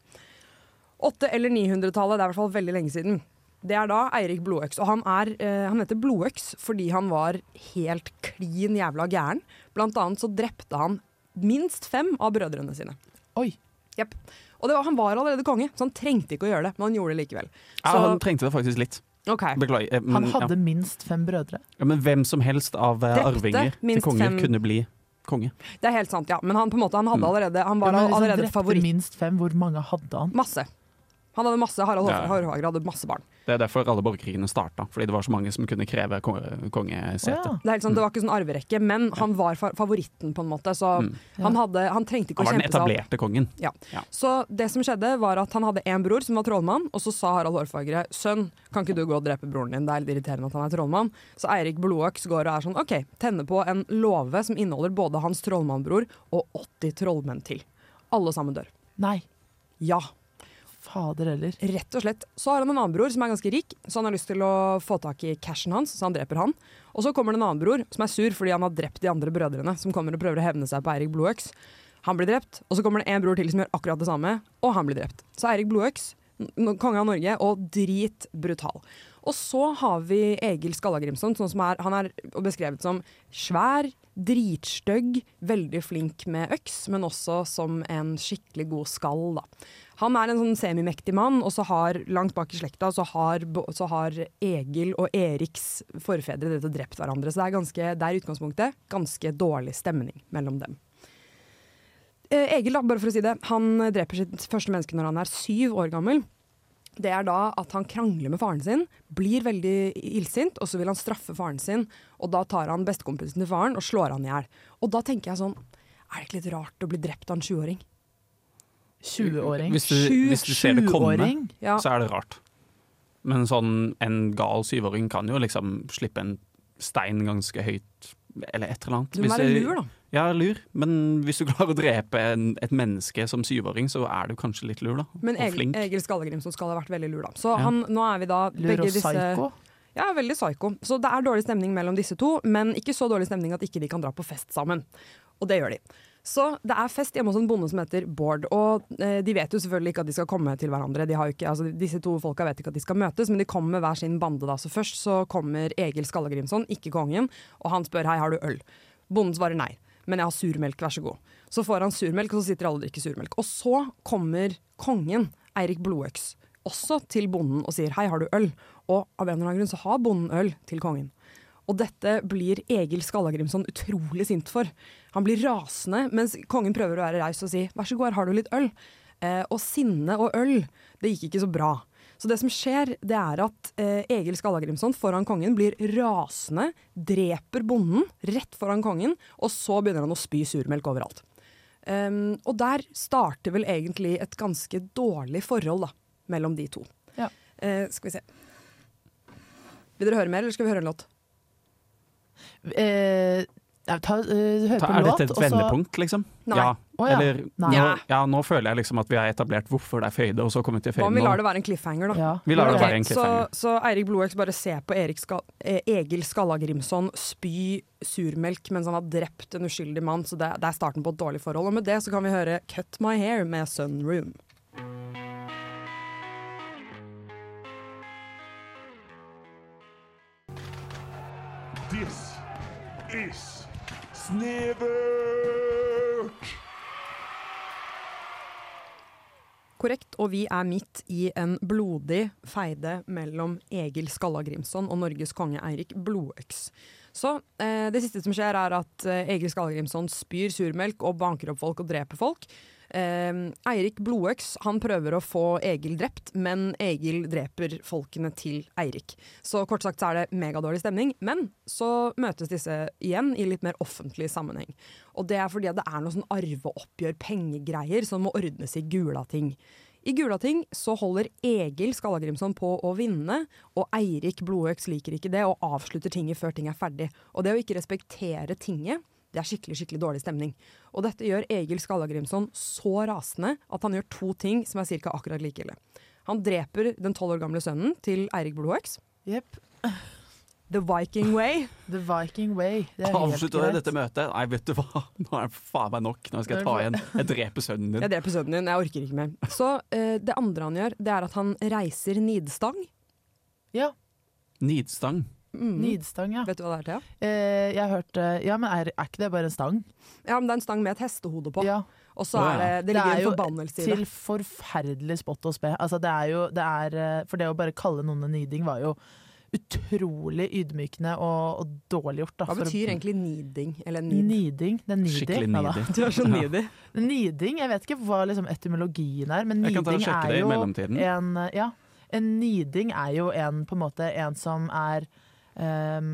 800- eller 900-tallet, det er i hvert fall veldig lenge siden. Det er da Eirik Blodøks, og han, er, eh, han heter Blodøks fordi han var helt klin jævla gæren. Blant annet så drepte han minst fem av brødrene sine. Oi! Jepp. Og det var, han var allerede konge, så han trengte ikke å gjøre det, men han gjorde det likevel. Ja, Så- han trengte det faktisk litt. Ok. Beklager. eh, men- Han hadde ja. minst fem brødre. Ja, men hvem som helst av eh, Drepte arvinger til minst konger fem- kunne bli konge. Det er helt sant, ja. Men han, på en måte, han, Mm. hadde allerede, han var Ja, men liksom hvis han allerede drepte favoritt. minst fem, hvor mange hadde han? Masse. Han hadde masse, Harald Ja. Hårfagre Hårfagre hadde masse barn. Det er derfor alle borgerkrigene starta, fordi det var så mange som kunne kreve kon- kongesete. Å, ja. Det, er helt sant, det var ikke sånn arverekke, men han var fa- favoritten, på en måte. Så Mm. han, hadde, han trengte ikke Han å var den kjempe seg opp. etablerte kongen. Så det som skjedde var at han hadde en bror som var trollmann, og så sa Harald Hårfagre sønn, kan ikke du gå og drepe broren din, det er litt irriterende at han er trollmann. Så Eirik Blodøks går og er sånn ok, tenne på en låve som inneholder både hans trollmannbror og 80 trollmenn til. Alle sammen dør. Nei, Ja. fader heller. Rett og slett. Så har han en annen bror som er ganske rik, så han har lyst til å få tak i cashen hans, så han dreper han. Og så kommer det en annen bror som er sur fordi han har drept de andre brødrene, som kommer og prøver å hevne seg på Eirik Blodøks. Han blir drept, og så kommer det en bror til som gjør akkurat det samme, og han blir drept. Så Eirik Blodøks, n- n- konge av Norge, og dritbrutal. Og så har vi Egil Skallagrimson, sånn som er, han er beskrevet som svær, Dritstøgg, veldig flink med øks, men også som en skikkelig god skall. Da. Han er en sånn semimektig mann, og så har langt bak i slekta så har, bo- så har Egil og Eriks forfedre dette drept hverandre. Så det er, ganske, det er i utgangspunktet ganske dårlig stemning mellom dem. Eh, Egil, da, bare for å si det, han dreper sitt første menneske når han er syv år gammel. Det er da at han krangler med faren sin, blir veldig illsint, og så vil han straffe faren sin. Og da tar han bestekompisen til faren og slår han i hjel. Og da tenker jeg sånn Er det ikke litt rart å bli drept av en sjuåring? 20-åring. Hvis du, hvis du ser det komme, 20-åring? Ja. så er det rart. Men sånn, en gal syvåring kan jo liksom slippe en stein ganske høyt, eller et eller annet. Du må Hvis være jeg- lur, da. Ja, lur. Men hvis du klarer å drepe en, et menneske som syvåring, så er du kanskje litt lur, da. Men og Egil, flink. Egil Skallegrim som skal ha vært veldig lur, da. Så Ja. han, nå er vi da Lur begge og disse psyko? Ja, veldig psyko. Så det er dårlig stemning mellom disse to, men ikke så dårlig stemning at ikke de kan dra på fest sammen. Og det gjør de. Så det er fest hjemme hos en bonde som heter Bård. Og eh, de vet jo selvfølgelig ikke at de skal komme til hverandre. De har jo ikke, altså, disse to folka vet ikke at de skal møtes, men de kommer med hver sin bande. da. Så først så kommer Egil Skallagrimson, ikke kongen, og han spør hei, har du øl? Bonden svarer nei, men jeg har surmelk, vær så god. Så får han surmelk, og så sitter alle og drikker surmelk. Og så kommer kongen, Eirik Blodøks, også til bonden og sier hei, har du øl? Og av en eller annen grunn så har bonden øl til kongen. Og dette blir Egil Skallagrimson utrolig sint for. Han blir rasende, mens kongen prøver å være raus og si vær så god, her har du litt øl. Eh, og sinne og øl, det gikk ikke så bra. Så det som skjer, det er at eh, Egil Skallagrimson foran kongen blir rasende, dreper bonden rett foran kongen, og så begynner han å spy surmelk overalt. Um, og der starter vel egentlig et ganske dårlig forhold da, mellom de to. Ja. Eh, skal vi se. Vil dere høre mer, eller skal vi høre en låt? Eh, ja, ta, eh, hør Ta, på er låt, dette et og så- vendepunkt, liksom? Nei. Ja. Å, ja. Eller, Nei. Nå, Ja. ja, nå føler jeg liksom at vi har etablert hvorfor det er føyde, og så kommer vi til Hva om vi føyden. lar det være en cliffhanger, da? Ja. Vi lar det Ok. være en så, cliffhanger. så Eirik Blodøks bare ser på Erik Ska eh, Egil Skallagrimson spy surmelk mens han har drept en uskyldig mann, så det, det er starten på et dårlig forhold. Og med det så kan vi høre 'Cut My Hair' med Sunroom. This is Snevert! Korrekt, og vi er midt i en blodig feide mellom Egil Skallagrimson og Norges konge Eirik Blodøks. Så eh, det siste som skjer er at eh, Egil Skallagrimson spyr surmelk og banker opp folk og dreper folk. Eh, Eirik Blodøks han prøver å få Egil drept, men Egil dreper folkene til Eirik. Så kort sagt så er det megadårlig stemning, men så møtes disse igjen i litt mer offentlig sammenheng. Og det er fordi at det er noe sånn arveoppgjør, pengegreier, som må ordnes i Gulating. I Gulating så holder Egil Skallagrimson på å vinne, og Eirik Blodøks liker ikke det og avslutter tinget før ting er ferdig. Og det å ikke respektere tinget, det er skikkelig skikkelig dårlig stemning. Og dette gjør Egil Skallagrimson så rasende at han gjør to ting som er cirka akkurat like ille. Han dreper den tolv år gamle sønnen til Eirik Blodøks. Jepp. The Viking Way. The Viking Way. Det er helt Avslutter greit. dette møtet? Nei, vet du hva, (laughs) nå er det faen meg nok. Nå skal jeg ta igjen. Jeg dreper sønnen Jeg din. dreper sønnen din, jeg orker ikke (laughs) mer. Så eh, det andre han gjør, det er at han reiser nidstang. Ja. Nidstang. Mm. Nidstang, ja. Mhm. Vet du hva det er, Thea? Eh, jeg hørte Ja, men er, er ikke det bare en stang? Ja, men det er en stang med et hestehode på. Og så Å, er det, ja. det ligger er jo en forbannelse i til det. forferdelig spott og spe. Altså, det er jo, det er, eh, for det å bare kalle noen en niding var jo utrolig ydmykende og, og dårlig gjort. Da, Hva for å- betyr egentlig niding? Eller nid? Niding. Det er needy. Skikkelig Ja da. (laughs) needy. (laughs) Du er så needy. Niding, jeg vet ikke hva liksom etymologien er, men Jeg kan ta og niding sjekke er det i jo mellomtiden. en Ja, en niding er jo en på en måte en som er ehm,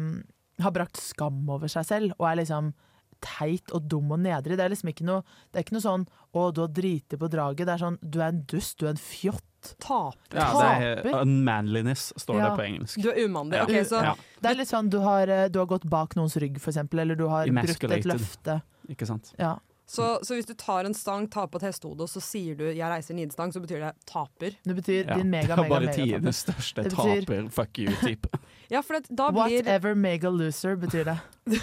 Har brakt skam over seg selv og er liksom teit og dum og nedrig. Det er liksom ikke noe Det er ikke noe sånn 'å, du har driti på draget'. Det er sånn 'du er en dust, du er en fjott'. Taper. Ja, det er unmanliness, står det Ja. på engelsk. Du er umandig. Ja. Ok, så Ja. Det er litt sånn du har, eh, du har gått bak noens rygg, for eksempel, eller du har brutt et Emasculated. løfte. Ikke sant? Ja. Så, så hvis du tar en stang, tar på et hestehode, og så sier du 'jeg reiser nidstang', så betyr det taper. Det betyr Ja. din mega, Det er mega, bare mega taper. tidenes største Det betyr- taper, fuck you-type. Ja, for det, da blir Whatever mega loser betyr det.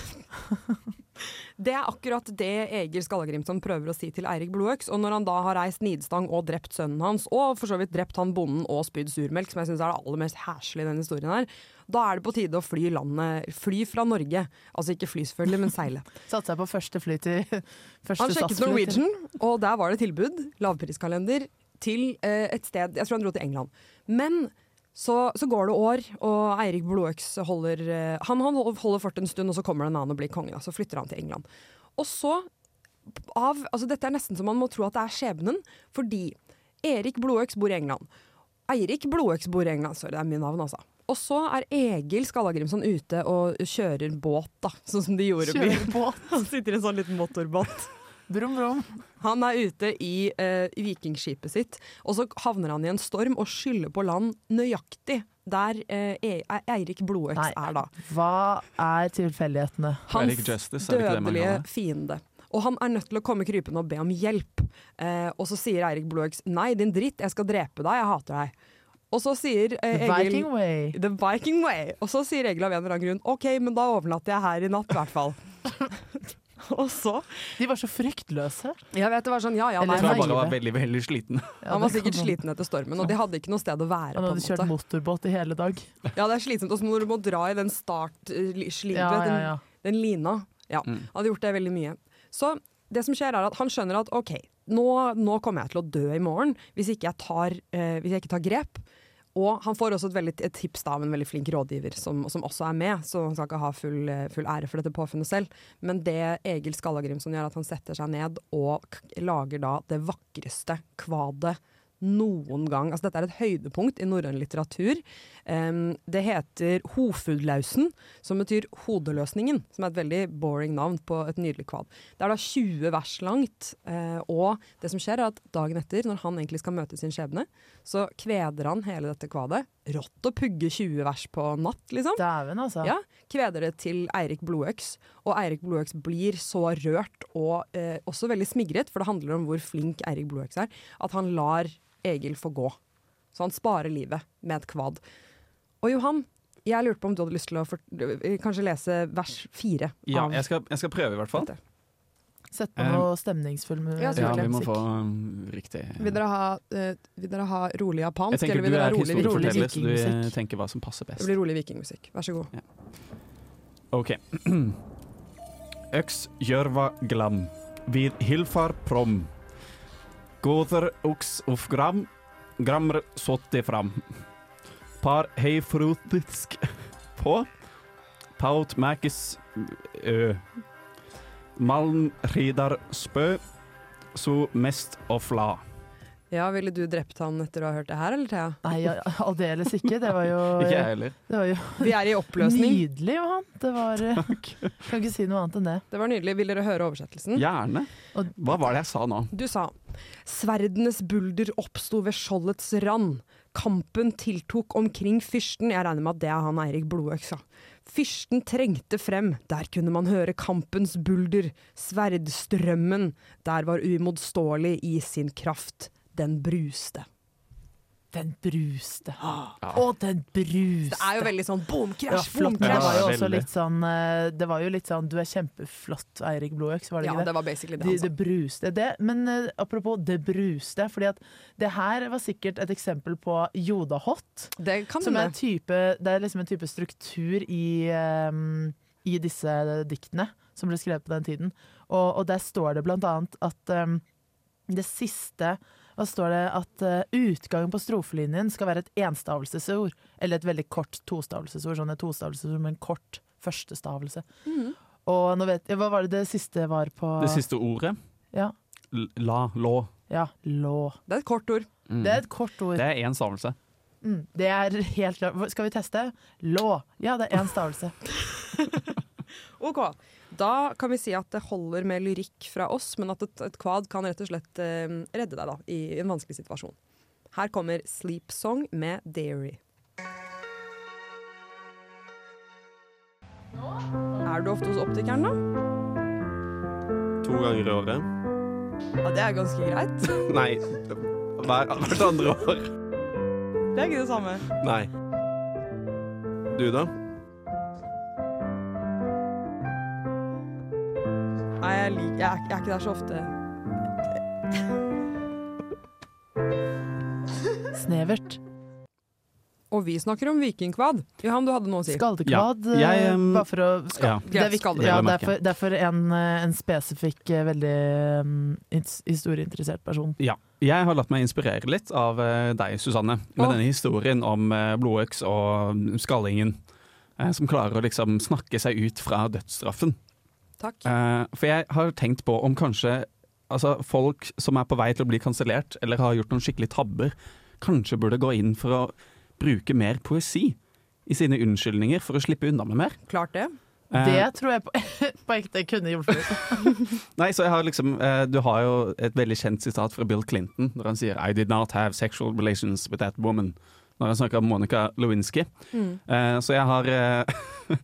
Det er akkurat det Egil Skallagrimson prøver å si til Eirik Blodøks. Og når han da har reist nidstang og drept sønnen hans, og for så vidt drept han bonden og spydd surmelk, som jeg syns er det aller mest heslige i denne historien her, da er det på tide å fly landet Fly fra Norge. Altså ikke fly, selvfølgelig, men seile. Satte seg på første fly til første Han sjekket SAS-fly til- Norwegian, og der var det tilbud, lavpriskalender, til eh, et sted Jeg tror han dro til England. Men så, så går det år, og Eirik Blodøks holder eh, Han, han holder fort en stund, og så kommer det en annen og blir konge. da, Så flytter han til England. Og så av, altså Dette er nesten så man må tro at det er skjebnen, fordi Erik Blodøks bor i England. Eirik Blodøks bor i England. Sorry, det er mye navn, altså. Og så er Egil Skallagrimson ute og kjører båt, da, sånn som de gjorde. Kjører båt. (laughs) Han sitter i en sånn liten motorbåt. Brum, brum. Han er ute i eh, vikingskipet sitt, og så havner han i en storm og skyller på land nøyaktig der eh, E- Eirik Blodøks Nei. er da. Hva er tilfeldighetene? Hans Eirik Justice, er det ikke det man dødelige kaller det? fiende. Og han er nødt til å komme krypende og be om hjelp. Eh, og så sier Eirik Blodøks 'nei, din dritt, jeg skal drepe deg, jeg hater deg'. Og så sier eh, The Egil Viking Way. The Viking Way. Og så sier Egil av en eller annen grunn 'OK, men da overnatter jeg her i natt, i hvert fall'. (laughs) og så De var så fryktløse. Jeg vet det var sånn ja ja, nei, Jeg tror han nei. bare var veldig, veldig sliten. Ja, Han var det sikkert kan- sliten etter stormen, og de hadde ikke noe sted å være. Han på hadde en kjørt måte. motorbåt i hele dag. Ja, det er slitsomt også når du må dra i den eh, startslipet, Ja, ja, ja. den, den lina. Ja, han hadde gjort det veldig mye. Så det som skjer er at han skjønner at ok, nå, nå kommer jeg til å dø i morgen hvis ikke jeg, tar, eh, hvis jeg ikke tar grep. Og han får også et, veldig, et tips da, av en veldig flink rådgiver, som, som også er med. Så han skal ikke ha full, eh, full ære for dette påfunnet selv. Men det Egil Skallagrimson gjør, er at han setter seg ned og k lager da det vakreste kvadet noen gang. Altså, dette er et høydepunkt i norrøn litteratur. Em, det heter Hofudlausen, som betyr Hodeløsningen, som er et veldig boring navn på et nydelig kvad. Det er da 20 vers langt, eh, og det som skjer er at dagen etter, når han egentlig skal møte sin skjebne, så kveder han hele dette kvadet. Rått å pugge 20 vers på natt, liksom. Dæven, altså. Ja, kveder det til Eirik Blodøks, og Eirik Blodøks blir så rørt og eh, også veldig smigret, for det handler om hvor flink Eirik Blodøks er, at han lar Egil få gå. Så han sparer livet med et kvad. Og Johan, jeg lurte på om du hadde lyst til å for, kanskje lese vers fire. Ja, av- jeg skal, jeg skal prøve i hvert fall. Sett på Eh, noe stemningsfull Ja, mu- Ja, selvfølgelig. vi må få um, riktig Vil dere ha, eh, vil dere ha rolig Jeg japansk, tenker eller vil du dere ha er rolig, rolig historieforteller, så du eh, vikingmusikk? tenker hva som passer Det best. blir rolig vikingmusikk. Vær så god. Ok. (clears throat) Øks gjørva glam, vid hilfar prom. Gåder oks uff gram, grammer sotti fram. Par hei frutisk (laughs) på, paut mækis ø. Malm ridar spø, så mest og fla. Ja, Ville du drept han etter å ha hørt det her, eller (laughs) Thea? Nei, ja, aldeles ikke. Det var jo, (laughs) Ikke jeg det heller. var jo Vi er i oppløsning. nydelig, Johan. Det var eh, Kan ikke si noe annet enn det. Det var nydelig. Vil dere høre oversettelsen? Gjerne. Og- Hva var det jeg sa nå? Du sa Sverdenes bulder oppsto ved skjoldets rand. Kampen tiltok omkring fyrsten Jeg regner med at det er han Eirik Blodøks, ja. Fyrsten trengte frem, der kunne man høre kampens bulder, sverdstrømmen, der var uimotståelig i sin kraft, den bruste. Den bruste. Å, den bruste! Ah. Det er jo veldig sånn boom, Ja, krasj, flott. boom, men Det var krasj. jo også veldig. litt sånn eh, Det var jo litt sånn Du er kjempeflott, Eirik Blodøks, var det Ja, ikke det? det var basically det altså. han De- sa. Det bruste. Det, men eh, apropos det bruste, fordi at det her var sikkert et eksempel på Jodahot. Det kan som er en hende. type, Det er liksom en type struktur i, eh, i disse diktene som ble skrevet på den tiden. Og, og der står det blant annet at eh, det siste Hva står det? At eh, utgangen på strofelinjen skal være et enstavelsesord. Eller et veldig kort tostavelsesord. Sånn et tostavelsesord med en kort førstestavelse. Mm. Og nå vet Hva var det det siste var på Det siste ordet Ja. l- La, lå. ja lå. Det er et kort ord. Mm. Det er et kort ord. Det er én stavelse. Mm, det er helt klart. Hva- Skal vi teste? Lå. Ja, det er én stavelse. Ok, Da kan vi si at det holder med lyrikk fra oss, men at et, et kvad kan rett og slett eh, redde deg da, i en vanskelig situasjon. Her kommer Sleep Song med Dairy. Er du ofte hos optikeren, da? To ganger i året. Ja, Det er ganske greit. (laughs) Nei, hver, hvert andre år. Det er ikke det samme. Nei. Du, da? Nei, jeg, lik, jeg, er- jeg er ikke der så ofte. Snevert. Og vi snakker om vikingkvad. Johan, du hadde noe å si. Skaldekvad. Ja, jeg, eh, em, bare for å skal, ja. Det er viktig. Skaldekvad. Det Ja, vil jeg derfor, derfor en, eh, en spesifikk, eh, veldig em, his- historieinteressert person. Ja. Jeg har latt meg inspirere litt av eh, deg, Susanne, med Å. denne historien om eh, blodøks og mm, skallingen. eh, Som klarer å liksom snakke seg ut fra dødsstraffen. Takk. Eh, For jeg har tenkt på om kanskje altså folk som er på vei til å bli kansellert, eller har gjort noen skikkelig tabber, kanskje burde gå inn for å bruke mer poesi i sine unnskyldninger for å slippe unna med mer. Klart det. Eh, Det tror jeg på, (laughs) på ekte kunne hjulpet. Nei, så jeg har liksom eh, Du har jo et veldig kjent sitat fra Bill Clinton når han sier I did not have sexual relations with that woman Når han snakker om Monica Lewinsky Mm. eh, Så jeg har eh, (laughs)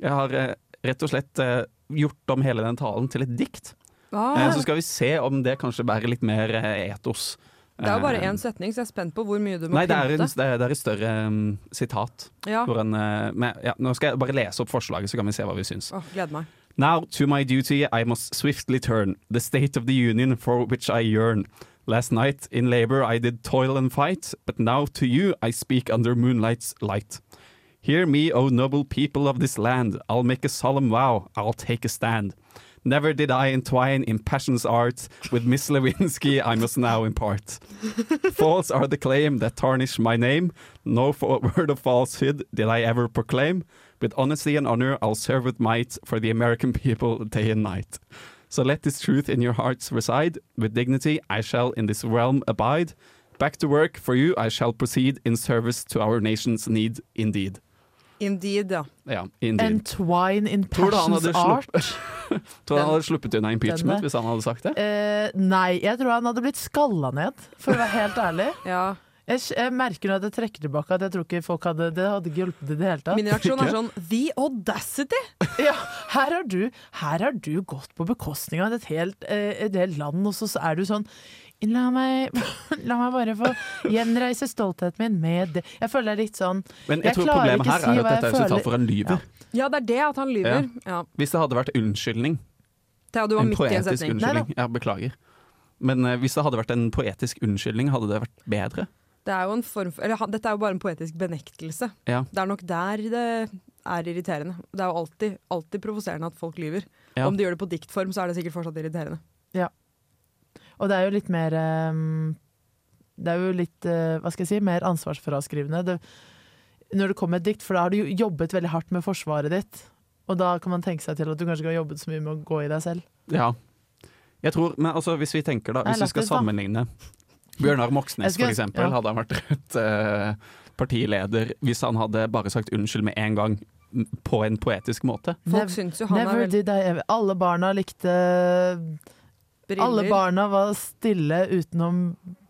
Jeg har eh, rett og slett eh, gjort om hele den talen til et dikt eh, Ah, Så skal vi se om det kanskje bærer litt mer eh, etos det er jo bare Eh, én setning, så jeg er spent på hvor mye du må Nei, det er, en, pynte. det, er, det er et større eh, sitat Ja. hvor han, eh, men, ja, Nå skal jeg bare lese opp forslaget Så kan vi se hva vi syns Åh, gleder meg. Now to my duty I must swiftly turn, the state of the union for which I yearn. Last night in labor I did toil and fight, but now to you I speak under moonlight's light. Hear me, O noble people of this land, I'll make a solemn vow, I'll take a stand. Never did I entwine in passion's art, with Miss Lewinsky I must now impart. False are the claim that tarnish my name. No fo- (laughs) word of falsehood did I ever proclaim. With honesty and honor, I'll serve with might for the American (laughs) people day and night. So let this truth in your hearts reside. With dignity, I shall in this realm abide. Back to work for you, I shall proceed in service to our nation's need indeed. Indeed, ja. Ja, indeed. Entwine in Tror du han passions hadde art. Tror du han hadde sluppet unna impeachment denne- hvis han hadde sagt det? Eh, nei, jeg tror han hadde blitt skalla ned, for å være helt ærlig. ja. Jeg, s- jeg merker nå at jeg trekker tilbake at jeg tror ikke folk hadde Det hadde ikke hjulpet i det hele tatt. Min reaksjon er sånn The audacity! Ja, her har du, her har du gått på bekostning av et helt, eh, et helt land, og så så er du sånn La meg, (laughs) la meg bare få gjenreise stoltheten min med det. Jeg føler det er litt sånn Men Jeg jeg tror klarer problemet ikke her si er at hva jeg dette er resultat føler. for en lyver. Ja, det er det at han lyver. Ja. Hvis det hadde vært unnskyldning, Thea, du var En midt i en poetisk setning. unnskyldning. Ja, beklager. Men eh, hvis det hadde vært en poetisk unnskyldning, hadde det vært bedre? Det er jo en form for, eller, han- dette er jo bare en poetisk benektelse. Ja. Det er nok der det er irriterende. Det er jo alltid, alltid provoserende at folk lyver. Ja. Om de gjør det på diktform, så er det sikkert fortsatt irriterende. Og det er jo litt mer eh, Det er jo litt, eh, hva skal jeg si, mer ansvarsfraskrivende. Det, når det kommer et dikt, for da har du jo jobbet veldig hardt med forsvaret ditt. Og da kan man tenke seg til at du kanskje ikke har jobbet så mye med å gå i deg selv. Ja. Jeg tror, men altså, hvis vi tenker da, Nei, hvis la vi skal det, da. sammenligne Bjørnar Moxnes Jeg skulle- for eksempel, ja. hadde han vært rødt eh, partileder hvis han hadde bare sagt unnskyld med en gang, m- på en poetisk måte. Folk Nev- syns jo han Never er veldig did I ever. Alle barna likte briller. Alle barna var stille utenom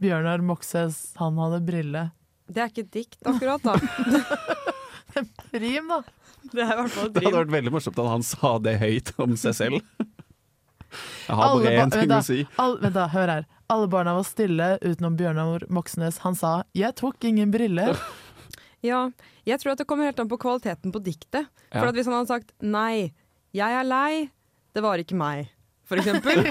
Bjørnar Moxnes, han hadde brille. Det er ikke et dikt akkurat, (laughs) da. Rim, da! Det er i hvert fall et Det hadde rim. vært veldig morsomt at han sa det høyt om seg selv. Jeg har Alle bare ba- én ting vent da. å si. Al- vent, da, hør her. Alle barna var stille utenom Bjørnar Moxnes. Han sa 'jeg tok ingen briller'. Ja, jeg tror at det kommer helt an på kvaliteten på diktet. Ja. For at hvis han hadde sagt 'nei, jeg er lei, det var ikke meg', for eksempel.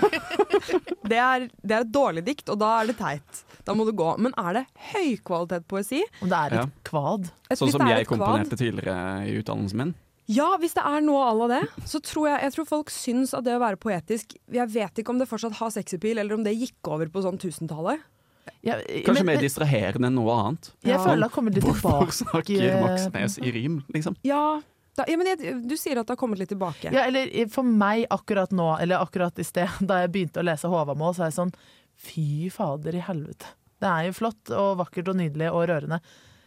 (laughs) det, er, det er et dårlig dikt, og da er det teit. Da må du gå. Men er det høykvalitet poesi? Om det er Ja. kvad? Sånn som jeg komponerte tidligere i utdannelsen min. Ja, hvis det er noe à la det, så tror jeg, jeg tror folk syns at det å være poetisk Jeg vet ikke om det fortsatt har sexappeal, eller om det gikk over på sånn tusentallet. Kanskje mer distraherende enn noe annet. Jeg føler det har kommet litt Hvorfor tilbake- eh, snakker Moxnes i rim, liksom? (laughs) Ja, da, ja men jeg, du sier at det har kommet litt tilbake. Ja, eller i- for meg akkurat nå, eller akkurat i sted, (laughs) da jeg begynte å lese Håvamål, så er jeg sånn Fy fader i helvete. Det er jo flott og vakkert og nydelig og rørende.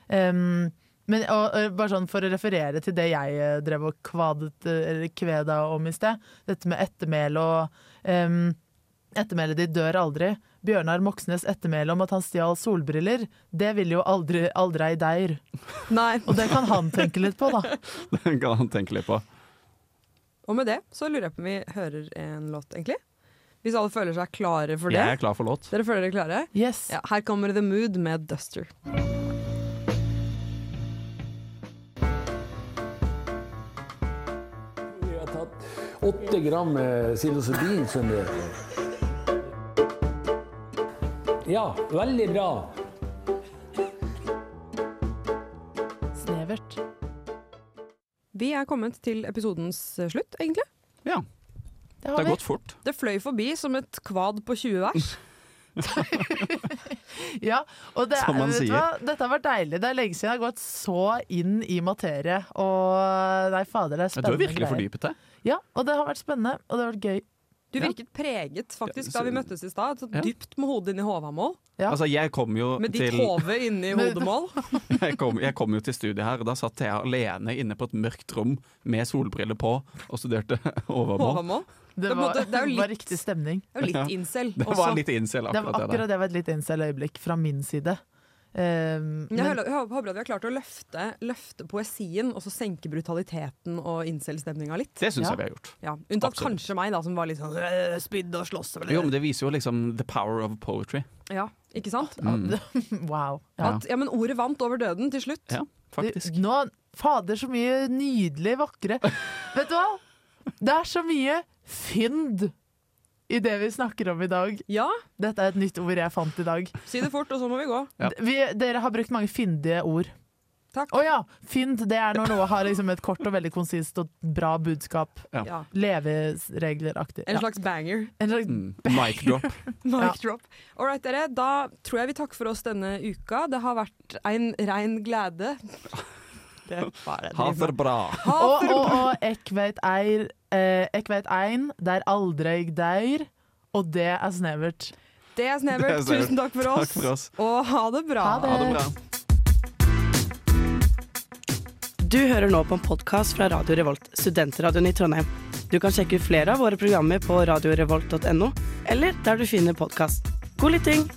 Ehm, men og, og, bare sånn for å referere til det jeg eh, drev og kvadet, eh, eller kveda om i sted, dette med ettermæle og ehm, Ettermælet ditt dør aldri. Bjørnar Moxnes' ettermæle om at han stjal solbriller, det ville jo aldri, aldri ei deir. Og det kan han tenke litt på, da. Det kan han tenke litt på. Og med det så lurer jeg på om vi hører en låt, egentlig. Hvis alle føler seg klare for det. Jeg er klar for låt. Dere føler dere klare? Yes. Ja, her kommer The Mood med Duster. Jeg har tatt åtte gram eh, psilocybin, skjønner du. Ja, veldig bra. Snevert. Vi er kommet til episodens eh, slutt, egentlig. Ja. Det har Det har vi. gått fort. Det fløy forbi som et kvad på 20 vers. (laughs) Ja, og det, Som man vet du sier. Hva? Dette har vært deilig. Det er lenge siden jeg har gått så inn i materie. Og nei, fader, Du det er har spennende virkelig greier. fordypet deg. Ja, og det har vært spennende, og det har vært gøy. (laughs) Du virket preget faktisk da vi møttes i stad. Så Ja. dypt med hodet inn i hovamål. Altså, jeg kom jo Med ditt til hode inni hodemål. (laughs) jeg, kom, jeg kom jo til studiet her, og da satt jeg alene inne på et mørkt rom med solbriller på og studerte (laughs) overmål. Hovamål. Det Det er på en var, måte- det er jo var litt- riktig stemning. Det er jo litt incel Det var også. litt incel, Det var, akkurat det akkurat der. det var et litt incel-øyeblikk fra min side. Um, Men jeg hører- jeg håper at vi har klart å løfte, løfte poesien og så senke brutaliteten og incel-stemninga litt. Det syns jeg vi har gjort. Ja, Unntatt Absolutt. kanskje meg, da, som var litt sånn øh, spydd og slåss. og- Jo, men det viser jo liksom the power of poetry. Ja, ikke sant? Mm. (laughs) wow. Ja. At, ja, men ordet vant over døden til slutt. Ja, faktisk. Nå, fader, så mye nydelig (laughs) vakre Vet du hva? Det er så mye fynd i det vi snakker om i dag. Dette er et nytt ord jeg fant i dag. Si det fort, og så må vi gå. D- Vi, dere har brukt mange fyndige ord. Takk. Å ja, fynd det er når noe har liksom et kort og veldig konsist og bra budskap. Ja. Ja. Leveregleraktig. En Ja. slags banger. (laughs) En slags Mm. Mic drop. Mic (laughs) Ja. drop. All right, dere. Da tror jeg vi takker for oss denne uka. Det har vært en rein glede. Det var det. Ha det bra. Og, og, og ek veit eir eh, Ek veit ein, der aldrei deir, og det er snevert. Det er Det er snevert. snevert. Tusen takk for Takk oss. for oss. Og ha det bra. Ha det bra. Du hører nå på en podkast fra Radio Revolt, studentradioen i Trondheim. Du kan sjekke ut flere av våre programmer på radiorevolt.no, eller der du finner podkast. God lytting!